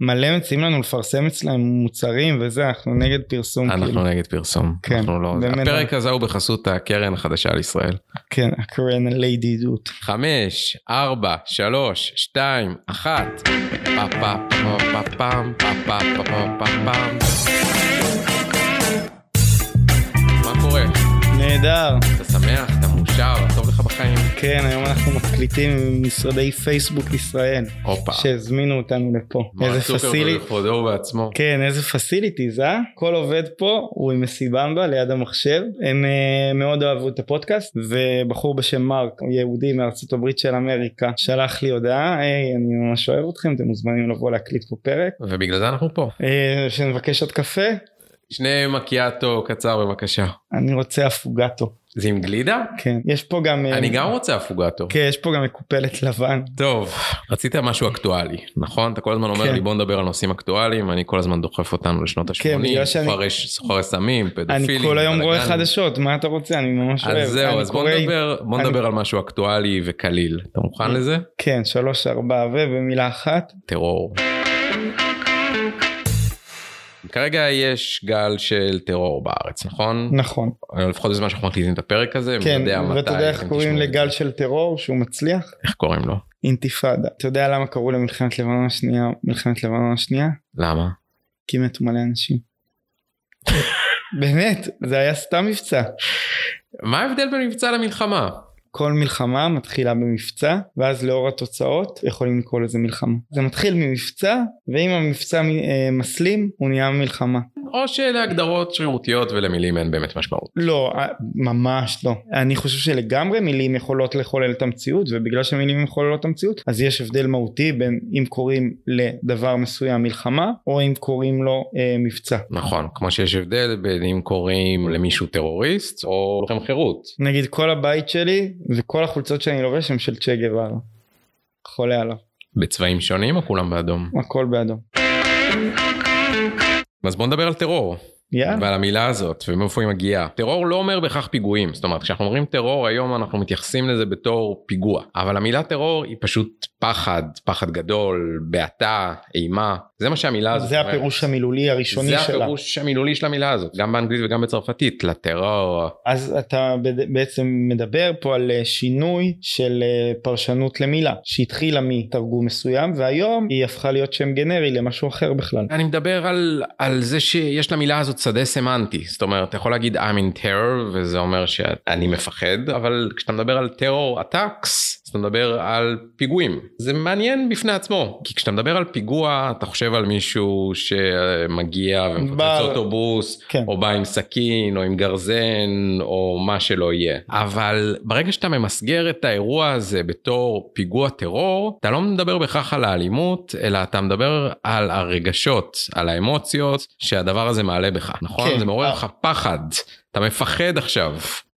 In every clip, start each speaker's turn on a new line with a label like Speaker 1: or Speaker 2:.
Speaker 1: מלא מציעים לנו לפרסם אצלהם מוצרים וזה, אנחנו נגד פרסום. כאילו.
Speaker 2: אנחנו נגד פרסום.
Speaker 1: כן,
Speaker 2: אנחנו לא...
Speaker 1: באמת.
Speaker 2: הפרק הזה הוא בחסות הקרן החדשה לישראל.
Speaker 1: כן, הקרן לידידות.
Speaker 2: חמש, ארבע, שלוש, שתיים, אחת. פה פה פה פה פעם, פה פה פה פה פה פעם. מה קורה?
Speaker 1: נהדר.
Speaker 2: אתה שמח? אתה מאושר? טוב לך בחיים?
Speaker 1: כן, היום אנחנו מקליטים ממשרדי פייסבוק ישראל,
Speaker 2: הופה.
Speaker 1: שהזמינו אותנו לפה.
Speaker 2: מרק
Speaker 1: איזה
Speaker 2: צוקרברג
Speaker 1: פסיליט.
Speaker 2: בכבודו ובעצמו.
Speaker 1: כן, איזה פסיליטיז, אה? כל עובד פה הוא עם מסיבמבה ליד המחשב. הם אה, מאוד אהבו את הפודקאסט, ובחור בשם מרק, יהודי מארצות הברית של אמריקה, שלח לי הודעה, היי, אני ממש אוהב אתכם, אתם מוזמנים לבוא להקליט פה פרק.
Speaker 2: ובגלל זה אנחנו פה.
Speaker 1: אה, שנבקש עוד קפה?
Speaker 2: שני מקיאטו קצר בבקשה.
Speaker 1: אני רוצה אפוגטו.
Speaker 2: זה עם גלידה?
Speaker 1: כן. יש פה גם... אה,
Speaker 2: אני גם רוצה הפוגטו.
Speaker 1: כן, יש פה גם מקופלת לבן.
Speaker 2: טוב, רצית משהו אקטואלי, נכון? אתה כל הזמן אומר
Speaker 1: כן.
Speaker 2: לי בוא נדבר על נושאים אקטואליים, אני כל הזמן דוחף אותנו לשנות ה-80,
Speaker 1: בגלל שאני-
Speaker 2: סוחרי סמים,
Speaker 1: אני
Speaker 2: פדופילים.
Speaker 1: כל היום רואה
Speaker 2: בלאגן.
Speaker 1: חדשות, מה אתה רוצה? אני ממש אוהב.
Speaker 2: אז זהו,
Speaker 1: אני
Speaker 2: אז בוא
Speaker 1: קורא-
Speaker 2: נדבר, בוא
Speaker 1: אני-
Speaker 2: נדבר על משהו אקטואלי וקליל. אתה מוכן לזה?
Speaker 1: כן, שלוש, ארבע, ובמילה אחת.
Speaker 2: טרור. כרגע יש גל של טרור בארץ, נכון?
Speaker 1: נכון.
Speaker 2: לפחות בזמן שאנחנו מקליטים את הפרק הזה, מי
Speaker 1: כן,
Speaker 2: יודע מתי.
Speaker 1: ואתה יודע
Speaker 2: אתם
Speaker 1: איך קוראים
Speaker 2: תשמעו את
Speaker 1: לגל
Speaker 2: זה.
Speaker 1: של טרור שהוא מצליח?
Speaker 2: איך קוראים לו?
Speaker 1: אינתיפאדה. אתה יודע למה קראו למלחמת לבנון השנייה מלחמת לבנון השנייה?
Speaker 2: למה?
Speaker 1: כי מתו מלא אנשים. באמת, זה היה סתם מבצע.
Speaker 2: מה ההבדל בין מבצע למלחמה?
Speaker 1: כל מלחמה מתחילה במבצע, ואז לאור התוצאות יכולים לקרוא לזה מלחמה. זה מתחיל ממבצע, ואם המבצע אה, מסלים, הוא נהיה מלחמה.
Speaker 2: או שאלה הגדרות שרירותיות ולמילים אין באמת משמעות.
Speaker 1: לא, אה, ממש לא. אני חושב שלגמרי מילים יכולות לחולל את המציאות, ובגלל שמילים מחוללות את המציאות, אז יש הבדל מהותי בין אם קוראים לדבר מסוים מלחמה, או אם קוראים לו אה, מבצע.
Speaker 2: נכון, כמו שיש הבדל בין אם קוראים למישהו טרוריסט או לוחם חירות.
Speaker 1: נגיד כל הבית שלי וכל החולצות שאני לובש הם של צ'ה גווארה. חולה עליו,
Speaker 2: בצבעים שונים או כולם באדום?
Speaker 1: הכל באדום.
Speaker 2: אז בוא נדבר על טרור
Speaker 1: יאללה.
Speaker 2: ועל המילה הזאת ומאיפה היא מגיעה. טרור לא אומר בהכרח פיגועים, זאת אומרת כשאנחנו אומרים טרור היום אנחנו מתייחסים לזה בתור פיגוע, אבל המילה טרור היא פשוט פחד, פחד גדול, בעתה, אימה, זה מה שהמילה הזאת
Speaker 1: זה הפירוש המילולי הראשוני
Speaker 2: זה
Speaker 1: שלה.
Speaker 2: הפירוש המילולי של המילה הזאת, גם באנגלית וגם בצרפתית, לטרור.
Speaker 1: אז אתה בד- בעצם מדבר פה על אה, שינוי של אה, פרשנות למילה שהתחילה מתרגום מסוים והיום היא הפכה להיות שם גנרי למשהו אחר בכלל.
Speaker 2: אני מדבר על, על זה שיש למילה הזאת שדה סמנטי, זאת אומרת, אתה יכול להגיד I'm in terror, וזה אומר שאני מפחד, אבל כשאתה מדבר על terror attacks, אז אתה מדבר על פיגועים. זה מעניין בפני עצמו, כי כשאתה מדבר על פיגוע, אתה חושב על מישהו שמגיע ומפוצץ
Speaker 1: בר-
Speaker 2: אוטובוס,
Speaker 1: כן.
Speaker 2: או בא עם סכין, או עם גרזן, או מה שלא יהיה. אבל ברגע שאתה ממסגר את האירוע הזה בתור פיגוע טרור, אתה לא מדבר בהכרח על האלימות, אלא אתה מדבר על הרגשות, על האמוציות שהדבר הזה מעלה בך, נכון?
Speaker 1: כן.
Speaker 2: זה מעורר
Speaker 1: אה.
Speaker 2: לך פחד. אתה מפחד עכשיו.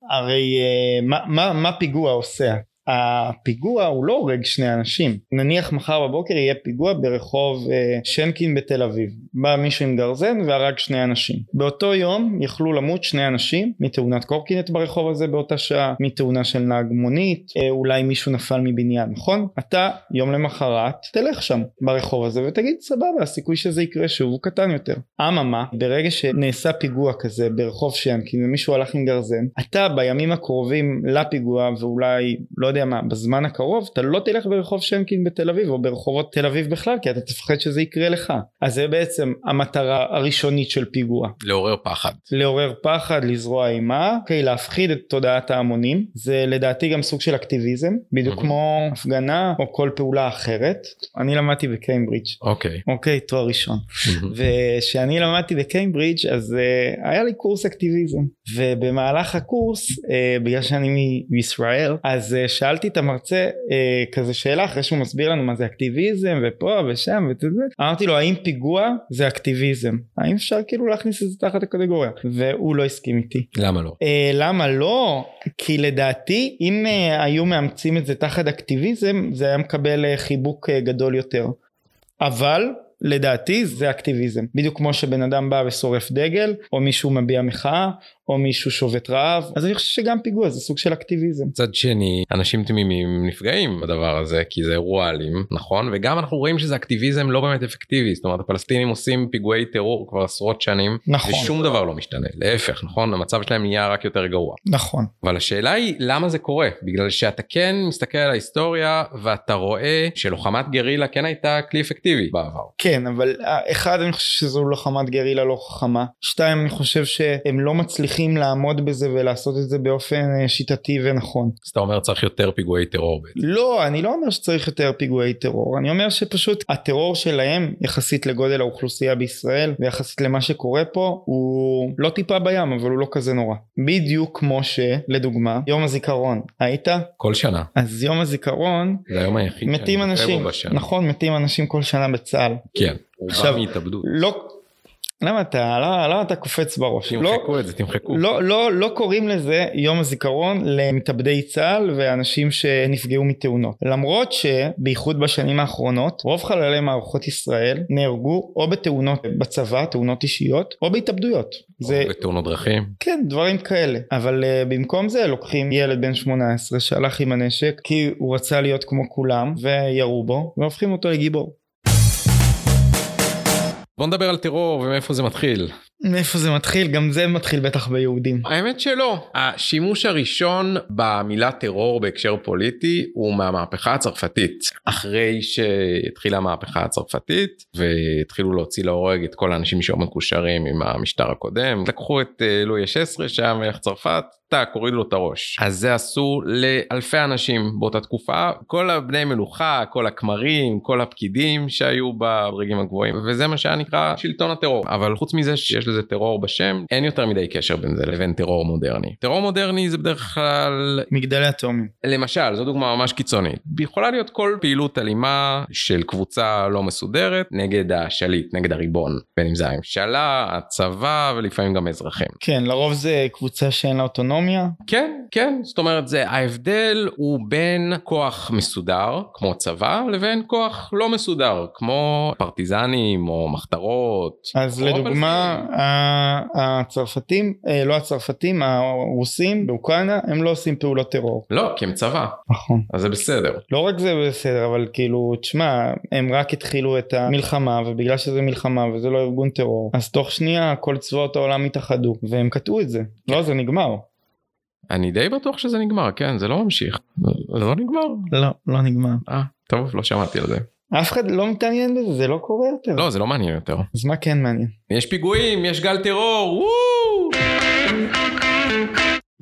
Speaker 1: הרי אה, מה, מה, מה פיגוע עושה? הפיגוע הוא לא הורג שני אנשים. נניח מחר בבוקר יהיה פיגוע ברחוב אה, שנקין בתל אביב. בא מישהו עם גרזן והרג שני אנשים. באותו יום יכלו למות שני אנשים מתאונת קורקינט ברחוב הזה באותה שעה, מתאונה של נהג מונית, אה, אולי מישהו נפל מבניין, נכון? אתה יום למחרת תלך שם ברחוב הזה ותגיד סבבה, הסיכוי שזה יקרה שוב הוא קטן יותר. אממה, ברגע שנעשה פיגוע כזה ברחוב שיינקין ומישהו הלך עם גרזן, אתה בימים הקרובים לפיגוע ואולי, לא יודע מה, בזמן הקרוב, אתה לא תלך ברחוב שיינקין בתל אביב או ברחובות תל אביב בכלל, כי אתה תפחד שזה יקרה לך. אז זה בעצם המטרה הראשונית של פיגוע.
Speaker 2: לעורר פחד.
Speaker 1: לעורר פחד, לזרוע אימה, אוקיי, להפחיד את תודעת ההמונים, זה לדעתי גם סוג של אקטיביזם, בדיוק
Speaker 2: Mhm.
Speaker 1: כמו הפגנה או כל פעולה אחרת. אני למדתי בקיימברידג',
Speaker 2: אוקיי.
Speaker 1: אוקיי, תואר ראשון.
Speaker 2: מהמם.
Speaker 1: וכשאני למדתי בקיימברידג' אז uh, היה לי קורס אקטיביזם ובמהלך הקורס uh, בגלל שאני מ- מישראל אז uh, שאלתי את המרצה uh, כזה שאלה אחרי שהוא מסביר לנו מה זה אקטיביזם ופה ושם וזה אמרתי לו האם פיגוע זה אקטיביזם האם אפשר כאילו להכניס את זה תחת הקטגוריה והוא לא הסכים איתי
Speaker 2: למה לא?
Speaker 1: אה, למה לא? כי לדעתי אם אה, היו מאמצים את זה תחת אקטיביזם זה היה מקבל אה, חיבוק אה, גדול יותר. אבל לדעתי זה אקטיביזם. בדיוק כמו שבן אדם בא ושורף דגל או מישהו מביע מחאה או מישהו שובת רעב אז אני חושב שגם פיגוע זה סוג של אקטיביזם.
Speaker 2: מצד שני אנשים תמימים נפגעים בדבר הזה כי זה אירוע אלים נכון וגם אנחנו רואים שזה אקטיביזם לא באמת אפקטיבי זאת אומרת הפלסטינים עושים פיגועי טרור כבר עשרות שנים
Speaker 1: נכון.
Speaker 2: ושום דבר לא משתנה להפך נכון המצב שלהם נהיה רק יותר גרוע
Speaker 1: נכון.
Speaker 2: אבל השאלה היא למה זה קורה בגלל שאתה כן מסתכל על ההיסטוריה ואתה רואה שלוחמת גרילה כן הייתה כלי אפקטיבי בעבר.
Speaker 1: כן אבל אה, אחד אני חושב שזו לוחמת גרילה לא חכמה שתיים אני חושב שהם לא מצליחים לעמוד בזה ולעשות את זה באופן אה, שיטתי ונכון.
Speaker 2: אז אתה אומר צריך יותר פיגועי טרור בעצם.
Speaker 1: לא אני לא אומר שצריך יותר פיגועי טרור אני אומר שפשוט הטרור שלהם יחסית לגודל האוכלוסייה בישראל ויחסית למה שקורה פה הוא לא טיפה בים אבל הוא לא כזה נורא. בדיוק כמו שלדוגמה יום הזיכרון היית?
Speaker 2: כל שנה
Speaker 1: אז יום הזיכרון
Speaker 2: זה היום היחיד
Speaker 1: מתים
Speaker 2: שאני
Speaker 1: אנשים,
Speaker 2: כן, בו בשנה.
Speaker 1: נכון מתים אנשים כל שנה בצה"ל.
Speaker 2: כן.
Speaker 1: עכשיו-
Speaker 2: עכשיו מהתאבדות.
Speaker 1: לא, למה אתה, למה, למה אתה קופץ בראש? לא,
Speaker 2: תמחקו את זה תמחקו.
Speaker 1: לא, לא, לא קוראים לזה יום הזיכרון למתאבדי צה"ל ואנשים שנפגעו מתאונות. למרות שבייחוד בשנים האחרונות רוב חללי מערכות ישראל נהרגו או בתאונות בצבא, תאונות אישיות, או בהתאבדויות. זה,
Speaker 2: בתאונות דרכים.
Speaker 1: כן, דברים כאלה. אבל uh, במקום זה לוקחים ילד בן 18 שהלך עם הנשק כי הוא רצה להיות כמו כולם וירו בו והופכים אותו לגיבור.
Speaker 2: בוא נדבר על טרור ומאיפה זה מתחיל.
Speaker 1: מאיפה זה מתחיל? גם זה מתחיל בטח ביהודים.
Speaker 2: האמת שלא. השימוש הראשון במילה טרור בהקשר פוליטי הוא מהמהפכה הצרפתית. אחרי שהתחילה המהפכה הצרפתית והתחילו להוציא להורג את כל האנשים שהיו מקושרים עם המשטר הקודם. לקחו את אה, לואי ה-16 שהיה מלך צרפת, טאק, הוריד לו את הראש. אז זה עשו לאלפי אנשים באותה תקופה, כל הבני מלוכה, כל הכמרים, כל הפקידים שהיו ברגעים הגבוהים, וזה מה שהיה נקרא שלטון הטרור. אבל חוץ מזה שיש לזה טרור בשם, אין יותר מדי קשר בין זה לבין טרור מודרני. טרור מודרני זה בדרך כלל
Speaker 1: מגדלי התאומים.
Speaker 2: למשל, זו דוגמה ממש קיצונית. יכולה להיות כל פעילות אלימה של קבוצה לא מסודרת נגד השליט, נגד הריבון, בין אם זה הממשלה, הצבא ולפעמים גם אזרחים.
Speaker 1: כן, לרוב זה קבוצה שאין לה אוטונומיה.
Speaker 2: כן, כן, זאת אומרת זה ההבדל הוא בין כוח מסודר כמו צבא לבין כוח לא מסודר כמו פרטיזנים או מחתרות.
Speaker 1: אז
Speaker 2: או
Speaker 1: לדוגמה, ה- הצרפתים, אה, לא הצרפתים, הרוסים באוקראינה, הם לא עושים פעולות טרור.
Speaker 2: לא, כי הם צבא,
Speaker 1: נכון.
Speaker 2: אז זה בסדר.
Speaker 1: לא רק זה בסדר, אבל כאילו, תשמע, הם רק התחילו את המלחמה, ובגלל שזה מלחמה וזה לא ארגון טרור, אז תוך שנייה כל צבאות העולם התאחדו, והם קטעו את זה. לא, זה נגמר.
Speaker 2: אני די בטוח שזה נגמר, כן, זה לא ממשיך. זה לא נגמר.
Speaker 1: לא, לא נגמר.
Speaker 2: אה, טוב, לא שמעתי על זה.
Speaker 1: אף אחד לא מתעניין בזה, זה לא קורה יותר.
Speaker 2: לא, זה לא מעניין יותר.
Speaker 1: אז מה כן מעניין?
Speaker 2: יש פיגועים, יש גל טרור, וואו!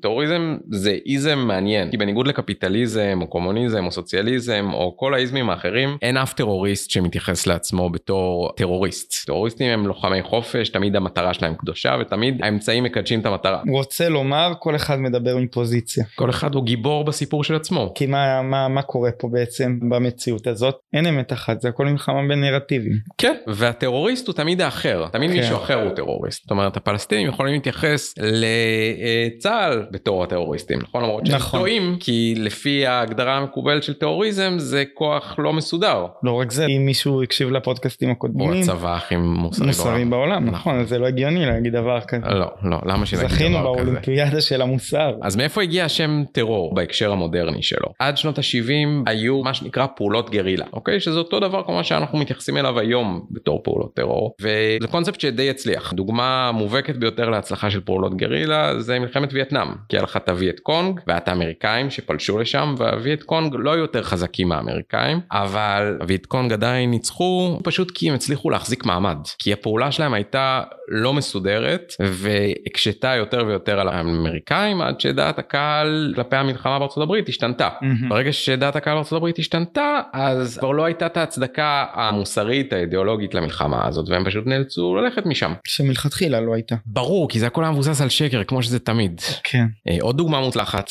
Speaker 2: טרוריזם זה איזם מעניין, כי בניגוד לקפיטליזם או קומוניזם או סוציאליזם או כל האיזמים האחרים, אין אף טרוריסט שמתייחס לעצמו בתור טרוריסט. טרוריסטים הם לוחמי חופש, תמיד המטרה שלהם קדושה ותמיד האמצעים מקדשים את המטרה.
Speaker 1: רוצה לומר, כל אחד מדבר מפוזיציה.
Speaker 2: כל אחד הוא גיבור בסיפור של עצמו.
Speaker 1: כי מה, מה, מה קורה פה בעצם במציאות הזאת? אין אמת אחת, זה הכל מלחמה בין נרטיבים.
Speaker 2: כן, והטרוריסט הוא תמיד האחר, תמיד
Speaker 1: כן.
Speaker 2: כן. מישהו אחר הוא טרוריסט. זאת אומרת, הפלסטינים יכולים להתייחס לצה"ל בתור הטרוריסטים, נכון? למרות שהם
Speaker 1: נכון.
Speaker 2: טועים, כי לפי ההגדרה המקובלת של טרוריזם זה כוח לא מסודר.
Speaker 1: לא רק זה, אם מישהו הקשיב לפודקאסטים
Speaker 2: או
Speaker 1: הקודמים,
Speaker 2: הצבא הכי מוסרי
Speaker 1: מוסרי
Speaker 2: בעולם.
Speaker 1: בעולם,
Speaker 2: נכון.
Speaker 1: נכון, אז זה לא הגיוני להגיד דבר כזה.
Speaker 2: לא, לא, למה שנגיד
Speaker 1: זכינו
Speaker 2: דבר כזה? אה,
Speaker 1: באולימפיאדה של המוסר.
Speaker 2: אז מאיפה הגיע השם טרור בהקשר המודרני שלו? עד שנות ה-70 היו מה שנקרא פעולות גרילה, אוקיי? שזה אותו דבר כמו שאנחנו מתייחסים אליו היום בתור פעולות טרור, וזה קונספט שדי הצליח. דוגמה מובהקת ביותר להצלחה של פעולות גרילה זה מלחמת וייטנאם, כי היה לך את הווייט קונג והיה את האמריקאים שפלשו לשם, והווייט קונג לא היו יותר חזקים מהאמריקאים, אבל הווייט קונג עדיין ניצחו פשוט כי הם הצליחו להחזיק מעמד, כי הפעולה שלהם הייתה לא מסודרת והקשתה יותר ויותר על האמריקאים עד שדעת הקהל כלפי המלחמה בארצות הברית השתנתה.
Speaker 1: מהמם.
Speaker 2: ברגע שדעת הקהל בארצות הברית השתנתה אז כבר לא הייתה את ההצדקה המוסרית האידיאולוגית למלחמה הזאת והם פשוט נאלצו ללכת משם.
Speaker 1: שמלכתחילה לא הייתה.
Speaker 2: ברור כי זה הכל היה מבוסס על שקר כמו שזה תמיד.
Speaker 1: כן.
Speaker 2: אה, עוד דוגמה מוצלחת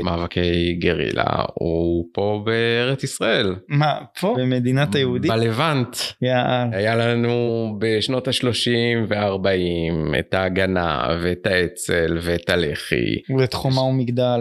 Speaker 2: למאבקי גרילה הוא פה בארץ ישראל.
Speaker 1: מה, פה? במדינת היהודים?
Speaker 2: בלבנט.
Speaker 1: יאללה.
Speaker 2: היה לנו בשנות ה-30 וה-40 את ההגנה ואת האצ"ל ואת הלח"י.
Speaker 1: ואת חומה ומגדל.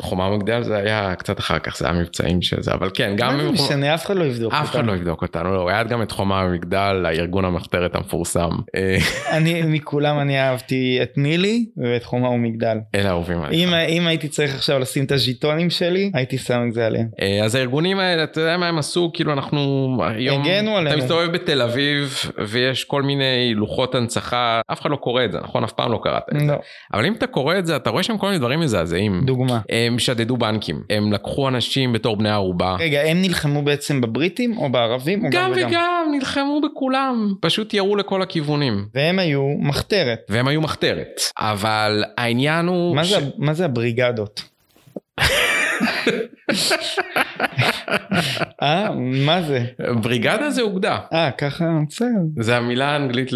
Speaker 2: חומה ומגדל זה היה קצת אחר כך זה המבצעים של זה אבל כן גם
Speaker 1: מה זה
Speaker 2: אם-
Speaker 1: משנה אף אחד לא יבדוק
Speaker 2: אף אחד
Speaker 1: אותם.
Speaker 2: לא יבדוק אותנו לא היה גם את חומה ומגדל הארגון המחתרת המפורסם אה,
Speaker 1: אני מכולם אני אהבתי את נילי ואת חומה ומגדל.
Speaker 2: אלה אהובים עליך.
Speaker 1: אם, אם הייתי צריך עכשיו לשים את הז'יטונים שלי הייתי שם את זה עליהם.
Speaker 2: אה, אז הארגונים האלה, אתה יודע מה הם עשו? כאילו אנחנו היום...
Speaker 1: הגנו עלינו.
Speaker 2: אתה מסתובב בתל אביב ויש כל מיני לוחות הנצחה, אף אחד לא קורא את זה, נכון? אף פעם לא קראת את זה.
Speaker 1: לא.
Speaker 2: אבל אם אתה קורא את זה, אתה רואה שם כל מיני דברים מזעזעים.
Speaker 1: דוגמה.
Speaker 2: הם שדדו בנקים, הם לקחו אנשים בתור בני ערובה.
Speaker 1: רגע הם נלחמו בעצם בבריטים או בערבים או
Speaker 2: גם
Speaker 1: כן, גם וגם.
Speaker 2: וגם, נלחמו בכולם, פשוט ירו לכל הכיוונים.
Speaker 1: והם היו מחתרת.
Speaker 2: והם היו מחתרת, אבל העניין הוא...
Speaker 1: מה,
Speaker 2: ש-
Speaker 1: זה, מה זה הבריגדות? אה? מה זה?
Speaker 2: בריגדה זה אוגדה.
Speaker 1: אה ככה בסדר.
Speaker 2: זה המילה האנגלית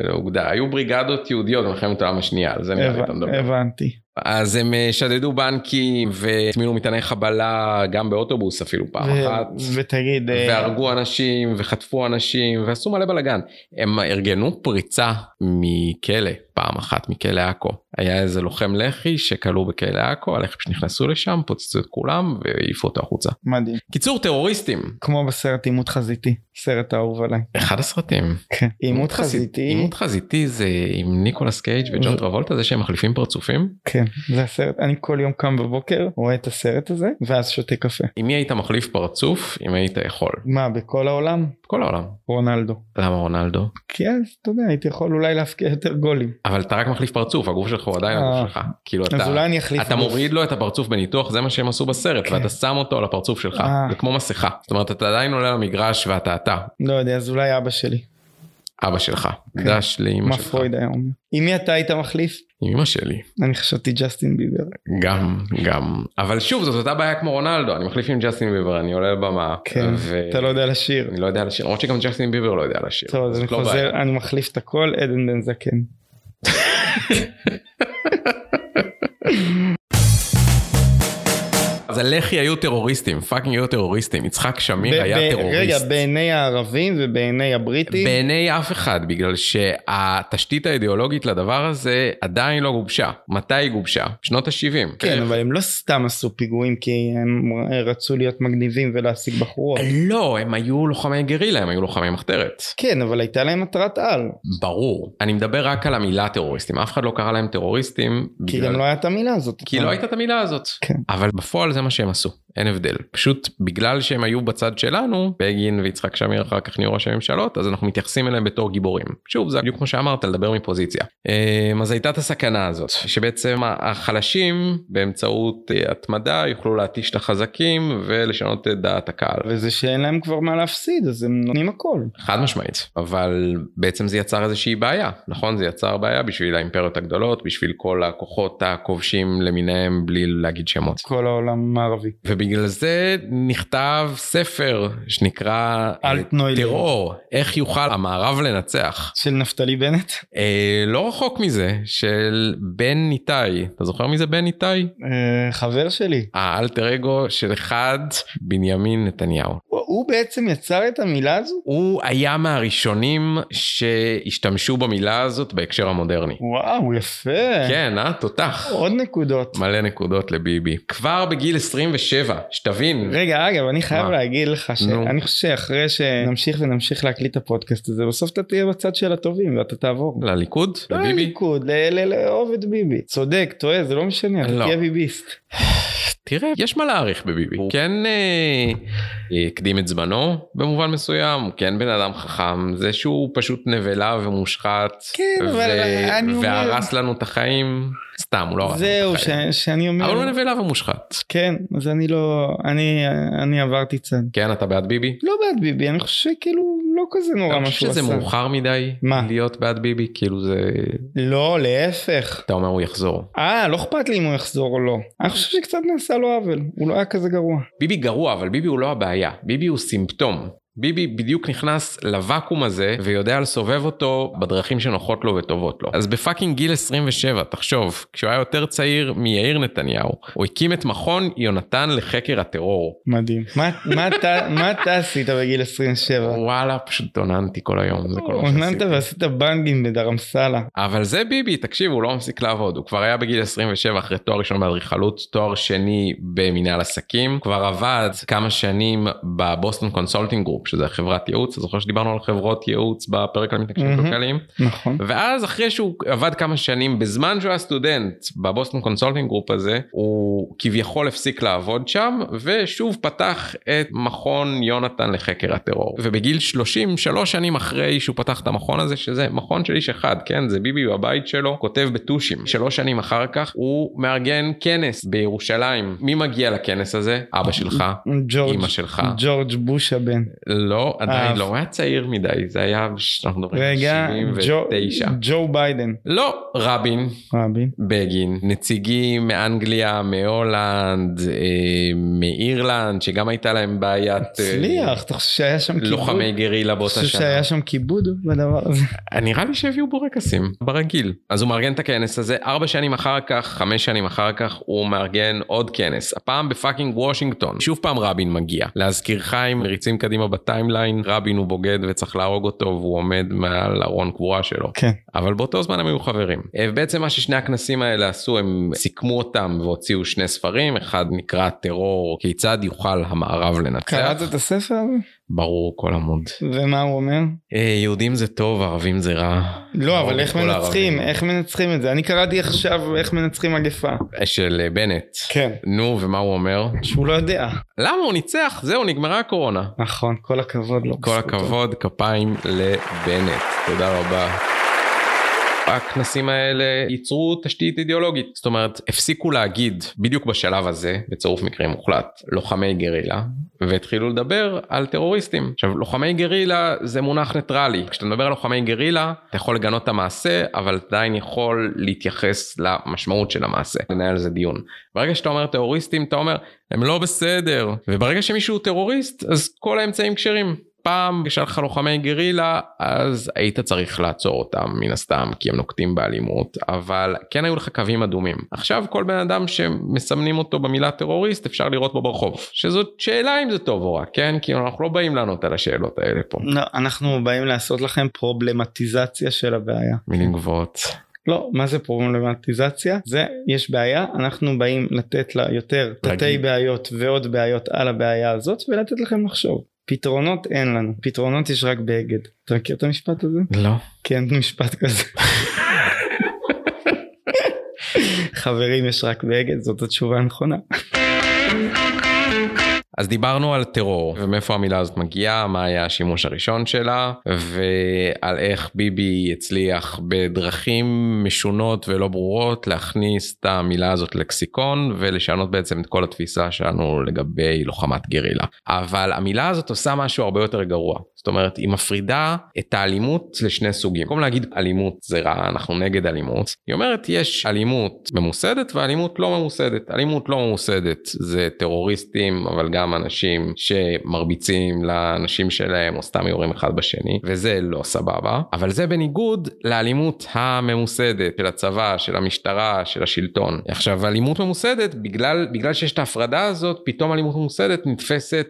Speaker 2: לאוגדה. היו בריגדות יהודיות במלחמת העולם השנייה, על זה נראה לי אתה
Speaker 1: הבנ-
Speaker 2: מדבר.
Speaker 1: הבנתי.
Speaker 2: אז הם אה, שדדו בנקים והטמינו מטעני חבלה גם באוטובוס אפילו פעם
Speaker 1: ו-
Speaker 2: אחת.
Speaker 1: ותגיד אה,
Speaker 2: והרגו אנשים וחטפו אנשים ועשו מלא בלאגן. הם ארגנו פריצה מכלא פעם אחת מכלא עכו. היה איזה לוחם לח"י שכלוא בכלא עכו, הלח"י פשוט נכנסו לשם, פוצצו את כולם והעיפו אותו החוצה.
Speaker 1: מדהים.
Speaker 2: קיצור טרוריסטים.
Speaker 1: כמו בסרט עימות חזיתי. סרט אהוב עליי.
Speaker 2: אחד הסרטים.
Speaker 1: כן. עימות
Speaker 2: חזית-
Speaker 1: חזיתי.
Speaker 2: עימות חזיתי זה עם ניקולס קייג' וג'ון
Speaker 1: זה-
Speaker 2: טרבולטה זה שהם מחליפים פרצופים.
Speaker 1: כן. זה הסרט. אני כל יום קם בבוקר רואה את הסרט הזה ואז שותה קפה.
Speaker 2: עם מי היית מחליף פרצוף אם היית יכול?
Speaker 1: מה בכל העולם?
Speaker 2: כל העולם.
Speaker 1: רונלדו.
Speaker 2: למה רונלדו?
Speaker 1: כי אז כן, אתה יודע הייתי יכול אולי להפקיע יותר גולים.
Speaker 2: אבל אתה רק מחליף פרצוף הגוף שלך הוא עדיין
Speaker 1: אה.
Speaker 2: הגוף שלך. כאילו אתה
Speaker 1: אז אולי אני אחליף.
Speaker 2: אתה
Speaker 1: גוף.
Speaker 2: מוריד לו את הפרצוף בניתוח זה מה שהם עשו בסרט
Speaker 1: כן.
Speaker 2: ואתה שם אותו על הפרצוף שלך
Speaker 1: אה.
Speaker 2: זה כמו מסכה זאת אומרת אתה עדיין עולה למגרש ואתה אתה
Speaker 1: לא יודע אז אולי אבא שלי.
Speaker 2: אבא שלך
Speaker 1: כן.
Speaker 2: דש לאמא
Speaker 1: מה
Speaker 2: שלך
Speaker 1: פרויד היה אומר. עם מי אתה היית מחליף?
Speaker 2: עם אמא שלי
Speaker 1: אני חשבתי ג'סטין ביבר.
Speaker 2: גם גם אבל שוב זאת אותה בעיה כמו רונלדו אני מחליף עם ג'סטין ביבר אני עולה לבמה
Speaker 1: כן.
Speaker 2: אה, ו-
Speaker 1: אתה לא יודע לשיר.
Speaker 2: אני לא יודע לשיר למרות שגם ג'סטין ביבר לא יודע לשיר
Speaker 1: טוב אז
Speaker 2: זאת
Speaker 1: אני
Speaker 2: לא בעיה.
Speaker 1: חוזר אני מחליף את הכל עדן בן זקן.
Speaker 2: אז הלח"י היו טרוריסטים פאקינג היו טרוריסטים יצחק שמיר
Speaker 1: ב-
Speaker 2: היה
Speaker 1: ב- רגע
Speaker 2: טרוריסט.
Speaker 1: בעיני הערבים ובעיני הבריטים.
Speaker 2: בעיני אף אחד, בגלל שהתשתית האידיאולוגית לדבר הזה עדיין לא גובשה. מתי היא גובשה? שנות ה-70.
Speaker 1: כן אבל הם לא סתם עשו פיגועים כי הם אה, רצו להיות מגניבים ולהשיג בחורות.
Speaker 2: לא, הם היו לוחמי גרילה, הם היו לוחמי מחתרת.
Speaker 1: כן אבל הייתה להם מטרת על.
Speaker 2: ברור. אני מדבר רק על המילה טרוריסטים, אף אחד לא קרא להם טרוריסטים.
Speaker 1: כי
Speaker 2: בגלל-
Speaker 1: גם לא הייתה המילה הזאת.
Speaker 2: כי לא הייתה את המילה הזאת.
Speaker 1: אה, כן.
Speaker 2: אבל בפועל זה מה שהם עשו, אין הבדל. פשוט בגלל שהם היו בצד שלנו, בגין ויצחק שמיר אחר כך נהיו ראשי ממשלות, אז אנחנו מתייחסים אליהם בתור גיבורים. שוב, זה בדיוק כמו שאמרת, לדבר מפוזיציה. אמ, אז הייתה את הסכנה הזאת, שבעצם החלשים באמצעות אה, התמדה יוכלו להתיש את החזקים ולשנות את דעת הקהל.
Speaker 1: וזה שאין להם כבר מה להפסיד אז הם נותנים הכל.
Speaker 2: חד משמעית אבל בעצם זה יצר איזושהי בעיה נכון זה יצר בעיה בשביל האימפריות הגדולות בשביל כל הכוחות הכובשים למיניהם בלי להגיד שמות.
Speaker 1: כל העולם המערבי.
Speaker 2: ובגלל זה נכתב ספר שנקרא אה,
Speaker 1: אלטנוילנד.
Speaker 2: טרור, איך יוכל המערב לנצח.
Speaker 1: של נפתלי בנט?
Speaker 2: אה, לא רחוק מזה, של בן ניתאי, אתה זוכר מי זה בן ניתאי?
Speaker 1: אה, חבר שלי.
Speaker 2: האלטר אגו של אחד בנימין נתניהו.
Speaker 1: הוא- הוא בעצם יצר את המילה הזו?
Speaker 2: הוא היה מהראשונים שהשתמשו במילה הזאת בהקשר המודרני.
Speaker 1: וואו יפה.
Speaker 2: כן, אה? תותח.
Speaker 1: עוד נקודות.
Speaker 2: מלא נקודות לביבי. כבר בגיל 27, שתבין,
Speaker 1: רגע אגב אני חייב
Speaker 2: מה?
Speaker 1: להגיד לך
Speaker 2: נו.
Speaker 1: שאני חושב שאחרי שנמשיך ונמשיך להקליט את הפודקאסט הזה בסוף אתה תהיה בצד של הטובים ואתה תעבור.
Speaker 2: לליכוד,
Speaker 1: לא
Speaker 2: לביבי.
Speaker 1: לליכוד, ל- ל- לאהוב את ביבי. צודק, טועה, זה לא משנה, אתה
Speaker 2: לא.
Speaker 1: תהיה ביביסט.
Speaker 2: תראה, יש מה להעריך בביבי. הוא כן אה, הקדים את זמנו במובן מסוים, הוא כן בן אדם חכם, זה שהוא פשוט נבלה ומושחת,
Speaker 1: כן, אבל אני אומר-
Speaker 2: והרס לנו את החיים, סתם, הוא לא הרס לנו
Speaker 1: זהו,
Speaker 2: את
Speaker 1: ש-
Speaker 2: החיים.
Speaker 1: שאני אומר...
Speaker 2: אבל הוא נבלה ומושחת.
Speaker 1: כן, אז אני לא... אני אני עברתי צד.
Speaker 2: כן, אתה בעד ביבי?
Speaker 1: לא בעד ביבי, אני חושב שכאילו לא כזה נורא
Speaker 2: אתה
Speaker 1: מה
Speaker 2: חושב
Speaker 1: שהוא
Speaker 2: שזה
Speaker 1: עשה.
Speaker 2: מאוחר מדי
Speaker 1: מה?
Speaker 2: להיות בעד ביבי? כאילו זה...
Speaker 1: לא, להפך.
Speaker 2: אתה אומר הוא יחזור.
Speaker 1: אה, לא אכפת לי אם הוא יחזור או לא. אני חושב שקצת נעשה לו עוול, הוא לא היה כזה גרוע.
Speaker 2: ביבי גרוע, אבל ביבי הוא לא הבעיה. ביבי הוא סימפטום. ביבי בדיוק נכנס לוואקום הזה ויודע לסובב אותו בדרכים שנוחות לו וטובות לו. אז בפאקינג גיל 27, תחשוב, כשהוא היה יותר צעיר מיאיר נתניהו, הוא הקים את מכון יונתן לחקר הטרור.
Speaker 1: מדהים. מה- מה אתה- מה אתה עשית בגיל 27?
Speaker 2: וואלה, פשוט אוננתי כל היום, זה כל מה
Speaker 1: עוננת
Speaker 2: שעשיתי.
Speaker 1: ועשית בנגים בדרמסלה.
Speaker 2: אבל זה ביבי, תקשיב, הוא לא מפסיק לעבוד. הוא כבר היה בגיל 27 אחרי תואר ראשון באדריכלות, תואר שני במנהל עסקים, כבר עבד כמה שנים בבוסטון קונסולטינג גרופ, שזה חברת ייעוץ, אתה זוכר שדיברנו על חברות ייעוץ בפרק על מתנגשים
Speaker 1: מהמם.
Speaker 2: כלכליים?
Speaker 1: נכון.
Speaker 2: ואז אחרי שהוא עבד כמה שנים בזמן שהוא היה סטודנט בבוסטון קונסולטינג גרופ הזה הוא כביכול הפסיק לעבוד שם ושוב פתח את מכון יונתן לחקר הטרור ובגיל 33 שנים אחרי שהוא פתח את המכון הזה שזה מכון של איש אחד כן זה ביבי בבית שלו כותב בטושים שלוש שנים אחר כך הוא מארגן כנס בירושלים מי מגיע לכנס הזה אבא שלך.
Speaker 1: ג'ורג'
Speaker 2: אימא שלך
Speaker 1: ג'ורג' בוש הבן.
Speaker 2: לא עדיין
Speaker 1: אה.
Speaker 2: לא הוא היה צעיר מדי זה היה אנחנו מדברים על
Speaker 1: רגע, ג'ו-
Speaker 2: 79
Speaker 1: ג'ו ביידן.
Speaker 2: לא רבין
Speaker 1: רבין.
Speaker 2: בגין, נציגים מאנגליה, מהולנד, אה, מאירלנד, שגם הייתה להם בעיית אה,
Speaker 1: הצליח, אתה חושב שהיה שם כיבוד?
Speaker 2: לוחמי גרילה באותה
Speaker 1: אתה חושב
Speaker 2: שנה. אה,
Speaker 1: שהיה שם כיבוד בדבר הזה?
Speaker 2: נראה לי שהביאו בורקסים, ברגיל. אז הוא מארגן את הכנס הזה, ארבע שנים אחר כך, חמש שנים אחר כך, הוא מארגן עוד כנס, הפעם בפאקינג וושינגטון. שוב פעם רבין מגיע. להזכירך, אם מריצים קדימה בטיימליין, רבין הוא בוגד וצריך להרוג אותו, והוא עומד מעל ארון קבורה שלו.
Speaker 1: כן.
Speaker 2: אבל באותו זמן הם היו חברים. אה, בעצם מה ששני הכנסים האלה עשו, הם סיכמו אותם והוציאו שני ספרים, אחד נקרא טרור, כיצד יוכל המערב לנצח.
Speaker 1: קראת את הספר הזה?
Speaker 2: ברור כל עמוד.
Speaker 1: ומה הוא אומר?
Speaker 2: אה, יהודים זה טוב, ערבים זה רע.
Speaker 1: לא,
Speaker 2: הרוג
Speaker 1: אבל
Speaker 2: את
Speaker 1: איך
Speaker 2: כל
Speaker 1: מנצחים?
Speaker 2: הערבים.
Speaker 1: איך מנצחים את זה? אני קראתי עכשיו איך מנצחים מגפה.
Speaker 2: של אה, בנט.
Speaker 1: כן.
Speaker 2: נו, ומה הוא אומר?
Speaker 1: שהוא לא יודע.
Speaker 2: למה הוא ניצח? זהו, נגמרה הקורונה.
Speaker 1: נכון, כל הכבוד לו.
Speaker 2: כל הכבוד, כפיים לבנט. תודה רבה. הכנסים האלה ייצרו תשתית אידיאולוגית. זאת אומרת, הפסיקו להגיד בדיוק בשלב הזה, בצירוף מקרים מוחלט, לוחמי גרילה, והתחילו לדבר על טרוריסטים. עכשיו, לוחמי גרילה זה מונח ניטרלי. כשאתה מדבר על לוחמי גרילה, אתה יכול לגנות את המעשה, אבל אתה עדיין יכול להתייחס למשמעות של המעשה, לנהל על זה דיון. ברגע שאתה אומר טרוריסטים, אתה אומר, הם לא בסדר. וברגע שמישהו הוא טרוריסט, אז כל האמצעים כשרים. פעם כשהיה לך לוחמי גרילה, אז היית צריך לעצור אותם מן הסתם, כי הם נוקטים באלימות, אבל כן היו לך קווים אדומים. עכשיו כל בן אדם שמסמנים אותו במילה טרוריסט, אפשר לראות בו ברחוב. שזאת שאלה אם זה טוב או רע, כן? כי אנחנו לא באים לענות על השאלות האלה פה.
Speaker 1: לא, אנחנו באים לעשות לכם פרובלמטיזציה של הבעיה.
Speaker 2: מילים גבוהות.
Speaker 1: לא, מה זה פרובלמטיזציה? זה, יש בעיה, אנחנו באים לתת לה יותר תתי
Speaker 2: להגיד.
Speaker 1: בעיות ועוד בעיות על הבעיה הזאת, ולתת לכם לחשוב. פתרונות אין לנו, פתרונות יש רק באגד. אתה מכיר את המשפט הזה?
Speaker 2: לא.
Speaker 1: כן, משפט כזה. חברים, יש רק באגד, זאת התשובה הנכונה.
Speaker 2: אז דיברנו על טרור ומאיפה המילה הזאת מגיעה, מה היה השימוש הראשון שלה ועל איך ביבי הצליח בדרכים משונות ולא ברורות להכניס את המילה הזאת לקסיקון ולשנות בעצם את כל התפיסה שלנו לגבי לוחמת גרילה. אבל המילה הזאת עושה משהו הרבה יותר גרוע. זאת אומרת, היא מפרידה את האלימות לשני סוגים. במקום להגיד אלימות זה רע, אנחנו נגד אלימות, היא אומרת יש אלימות ממוסדת ואלימות לא ממוסדת. אלימות לא ממוסדת זה טרוריסטים, אבל גם אנשים שמרביצים לאנשים שלהם או סתם יורים אחד בשני, וזה לא סבבה. אבל זה בניגוד לאלימות הממוסדת של הצבא, של המשטרה, של השלטון. עכשיו, אלימות ממוסדת, בגלל, בגלל שיש את ההפרדה הזאת, פתאום אלימות ממוסדת נתפסת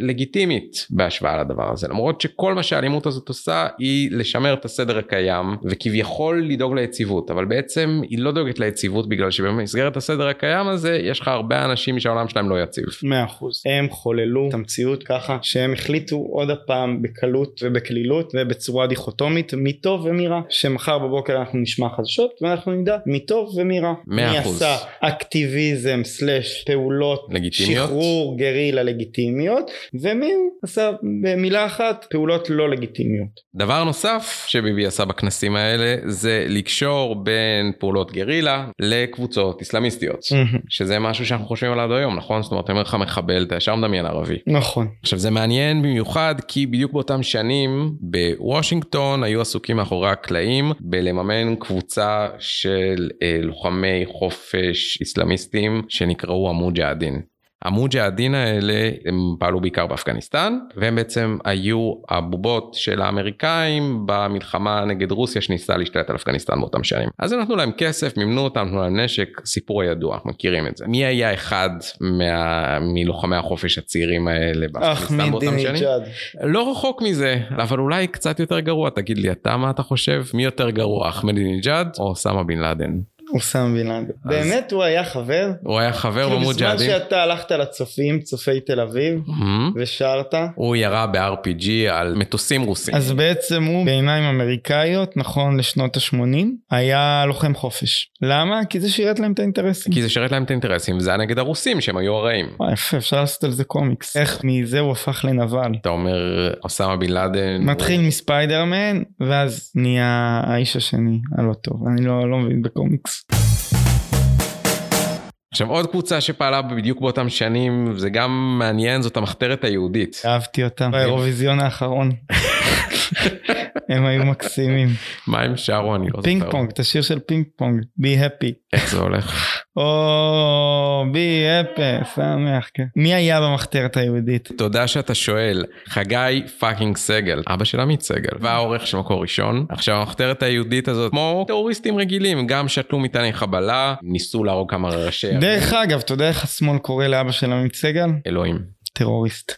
Speaker 2: כלגיטימית בהשוואה לדבר הזה. למרות שכל מה שהאלימות הזאת עושה, היא לשמר את הסדר הקיים, וכביכול לדאוג ליציבות. אבל בעצם היא לא דואגת ליציבות, בגלל שבמסגרת הסדר הקיים הזה, יש לך הרבה אנשים שהעולם שלהם לא יציב.
Speaker 1: מאה אחוז. הם חוללו את המציאות ככה שהם החליטו עוד הפעם בקלות ובקלילות ובצורה דיכוטומית מטוב ומרע. שמחר בבוקר אנחנו נשמע חדשות ואנחנו נדע מטוב ומרע.
Speaker 2: מאה
Speaker 1: מי
Speaker 2: אחוז.
Speaker 1: עשה אקטיביזם סלאש פעולות
Speaker 2: לגיטימיות.
Speaker 1: שחרור גרילה לגיטימיות ומי הוא עשה במילה אחת פעולות לא לגיטימיות.
Speaker 2: דבר נוסף שביבי עשה בכנסים האלה, זה לקשור בין פעולות גרילה לקבוצות איסלאמיסטיות. שזה משהו שאנחנו חושבים עליו עד היום, נכון? זאת אומרת, אני אומר לך מחבל, אתה ישר מדמיין ערבי.
Speaker 1: נכון.
Speaker 2: עכשיו זה מעניין במיוחד כי בדיוק באותם שנים בוושינגטון היו עסוקים מאחורי הקלעים בלממן קבוצה של אה, לוחמי חופש איסלאמיסטים שנקראו המוג'הדין. המוג'הדין האלה הם פעלו בעיקר באפגניסטן והם בעצם היו הבובות של האמריקאים במלחמה נגד רוסיה שניסתה להשתלט על אפגניסטן באותם שנים. אז הם נתנו להם כסף, מימנו אותם, נתנו להם נשק, סיפור הידוע, אנחנו מכירים את זה. מי היה אחד מה... מלוחמי החופש הצעירים האלה באפגניסטן באותם שנים?
Speaker 1: אחמדינג'אד.
Speaker 2: לא רחוק מזה, אבל אולי קצת יותר גרוע, תגיד לי אתה מה אתה חושב? מי יותר גרוע, אחמדינג'אד או אוסמה בן לאדן?
Speaker 1: אוסאם בן לאדן.
Speaker 2: אז-
Speaker 1: באמת הוא היה חבר?
Speaker 2: הוא היה חבר
Speaker 1: כאילו בזמן
Speaker 2: במוג'הדין.
Speaker 1: שאתה הלכת לצופים, צופי תל אביב,
Speaker 2: מהמם.
Speaker 1: ושרת,
Speaker 2: הוא ירה ב-RPG על מטוסים רוסים.
Speaker 1: אז בעצם הוא בעיניים אמריקאיות, נכון לשנות ה-80, היה לוחם חופש. למה? כי זה שירת להם את האינטרסים.
Speaker 2: כי זה שרת להם את האינטרסים, זה היה נגד הרוסים שהם היו הרעים.
Speaker 1: וואי, יפה, אפשר לעשות על זה קומיקס. איך מזה הוא הפך לנבל.
Speaker 2: אתה אומר, אוסמה בן לאדן...
Speaker 1: מתחיל מספיידרמן, ואז נהיה האיש השני הלא טוב. אני לא, לא מבין בקומיקס.
Speaker 2: עכשיו עוד קבוצה שפעלה בדיוק באותם שנים, זה גם מעניין, זאת המחתרת היהודית.
Speaker 1: אהבתי אותם.
Speaker 2: אוקיי.
Speaker 1: באירוויזיון האחרון. הם היו מקסימים.
Speaker 2: מה הם שרו? אני לא זוכר.
Speaker 1: פינג פונג, את השיר של פינג פונג, בי הפי.
Speaker 2: איך זה הולך?
Speaker 1: או, בי הפי, שמח, כן. מי היה במחתרת היהודית?
Speaker 2: תודה שאתה שואל, חגי פאקינג סגל, אבא של עמית סגל, והעורך של מקור ראשון. עכשיו המחתרת היהודית הזאת, כמו טרוריסטים רגילים, גם שתלו מטעני חבלה, ניסו להרוג כמה ראשי... ערים.
Speaker 1: דרך אגב, אתה יודע איך השמאל קורא לאבא של עמית סגל?
Speaker 2: אלוהים.
Speaker 1: טרוריסט.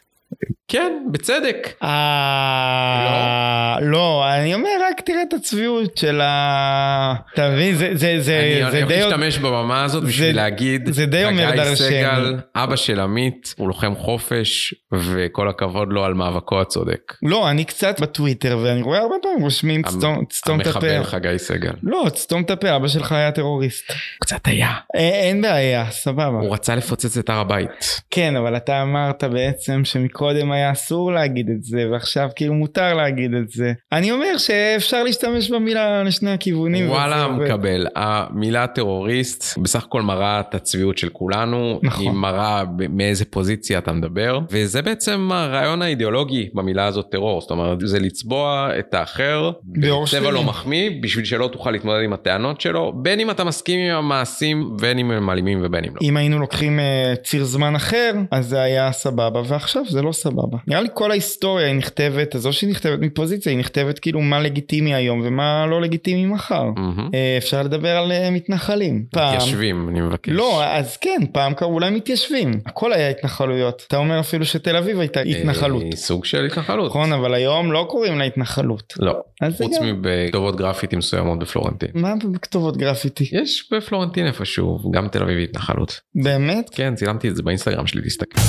Speaker 2: כן, בצדק.
Speaker 1: אה... לא, אני אומר, רק תראה את הצביעות של ה... אתה מבין? זה- זה- אה, זה
Speaker 2: אני
Speaker 1: זה
Speaker 2: הולך
Speaker 1: די...
Speaker 2: להשתמש בבמה הזאת בשביל
Speaker 1: זה-
Speaker 2: להגיד,
Speaker 1: זה די אומר
Speaker 2: חגי
Speaker 1: דרשני.
Speaker 2: סגל, אבא של עמית, הוא לוחם חופש, וכל הכבוד לו על מאבקו הצודק.
Speaker 1: לא, אני קצת בטוויטר, ואני רואה הרבה פעמים רושמים, "תסתום- תסתום את
Speaker 2: המחבל
Speaker 1: הפה.
Speaker 2: חגי סגל.
Speaker 1: לא, תסתום את הפה, אבא שלך היה טרוריסט.
Speaker 2: קצת היה.
Speaker 1: אה, אין בעיה, סבבה.
Speaker 2: הוא רצה לפוצץ את הר הבית.
Speaker 1: כן, אבל אתה אמרת בעצם שמקודם היה אסור להגיד את זה, ועכשיו כאילו מותר להגיד את זה. אני אומר שאפשר להשתמש במילה לשני הכיוונים. וזה
Speaker 2: וואלה
Speaker 1: עובד.
Speaker 2: מקבל. המילה טרוריסט בסך הכל מראה את הצביעות של כולנו,
Speaker 1: נכון.
Speaker 2: היא מראה ב- מאיזה פוזיציה אתה מדבר, וזה בעצם הרעיון האידיאולוגי במילה הזאת טרור, זאת אומרת זה לצבוע את האחר
Speaker 1: באור
Speaker 2: בצבע
Speaker 1: שלילי.
Speaker 2: לא מחמיא, בשביל שלא תוכל להתמודד עם הטענות שלו, בין אם אתה מסכים עם המעשים, בין אם הם אלימים ובין אם לא.
Speaker 1: אם היינו לוקחים אה, ציר זמן אחר, אז זה היה סבבה, ועכשיו זה לא סבבה. נראה לי כל ההיסטוריה היא נכתבת, אז לא שהיא נכתבת מפוזיציה, היא נכתבת כאילו מה לגיטימי היום ומה לא לגיטימי מחר.
Speaker 2: מהמם.
Speaker 1: אה, אפשר לדבר על אה, מתנחלים. פעם.
Speaker 2: מתיישבים, אני מבקש. אה,
Speaker 1: לא, אז כן, פעם קראו להם מתיישבים. הכל היה התנחלויות. אתה אומר אפילו שתל אביב הייתה התנחלות.
Speaker 2: אה, סוג של התנחלות.
Speaker 1: נכון, אבל היום לא קוראים לה התנחלות.
Speaker 2: לא,
Speaker 1: אז זה
Speaker 2: חוץ
Speaker 1: גם...
Speaker 2: מבכתובות גרפיטי מסוימות בפלורנטין.
Speaker 1: מה בכתובות גרפיטי?
Speaker 2: יש בפלורנטין איפשהו, גם תל אביב היא התנחלות.
Speaker 1: באמת?
Speaker 2: כן, צילמתי את זה באינסטגרם שלי, תסתכל.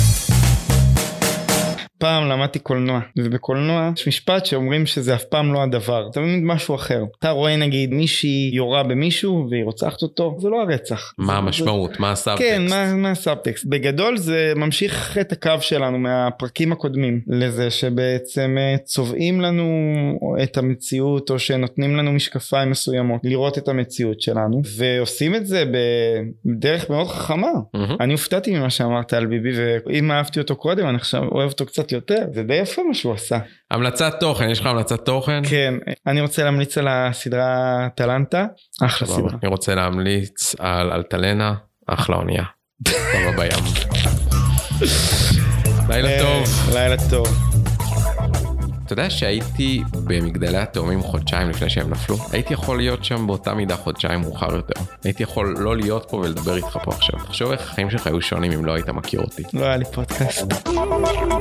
Speaker 1: פעם למדתי קולנוע, ובקולנוע יש משפט שאומרים שזה אף פעם לא הדבר. זה תמיד משהו אחר. אתה רואה נגיד מישהי יורה במישהו והיא רוצחת אותו, זה לא הרצח. זה-
Speaker 2: מה המשמעות, מה הסאבטקסט.
Speaker 1: כן, מה, מה הסאבטקסט? בגדול זה ממשיך את הקו שלנו מהפרקים הקודמים לזה שבעצם אה, צובעים לנו את המציאות או שנותנים לנו משקפיים מסוימות לראות את המציאות שלנו ועושים את זה בדרך מאוד חכמה.
Speaker 2: מהמם.
Speaker 1: אני הופתעתי ממה שאמרת על ביבי ואם אהבתי אותו קודם אני עכשיו אוהב אותו קצת יותר זה די יפה מה שהוא עשה.
Speaker 2: המלצת תוכן, יש לך המלצת תוכן?
Speaker 1: כן, אני רוצה להמליץ על הסדרה טלנטה, אחלה
Speaker 2: סבבה.
Speaker 1: סדרה.
Speaker 2: אני רוצה להמליץ על אלטלנה, אחלה אונייה. טובה בים. לילה טוב.
Speaker 1: אה, לילה טוב.
Speaker 2: אתה יודע שהייתי במגדלי התאומים חודשיים לפני שהם נפלו? הייתי יכול להיות שם באותה מידה חודשיים מאוחר יותר. הייתי יכול לא להיות פה ולדבר איתך פה עכשיו. תחשוב איך החיים שלך היו שונים אם לא היית מכיר אותי.
Speaker 1: לא היה לי פודקאסט.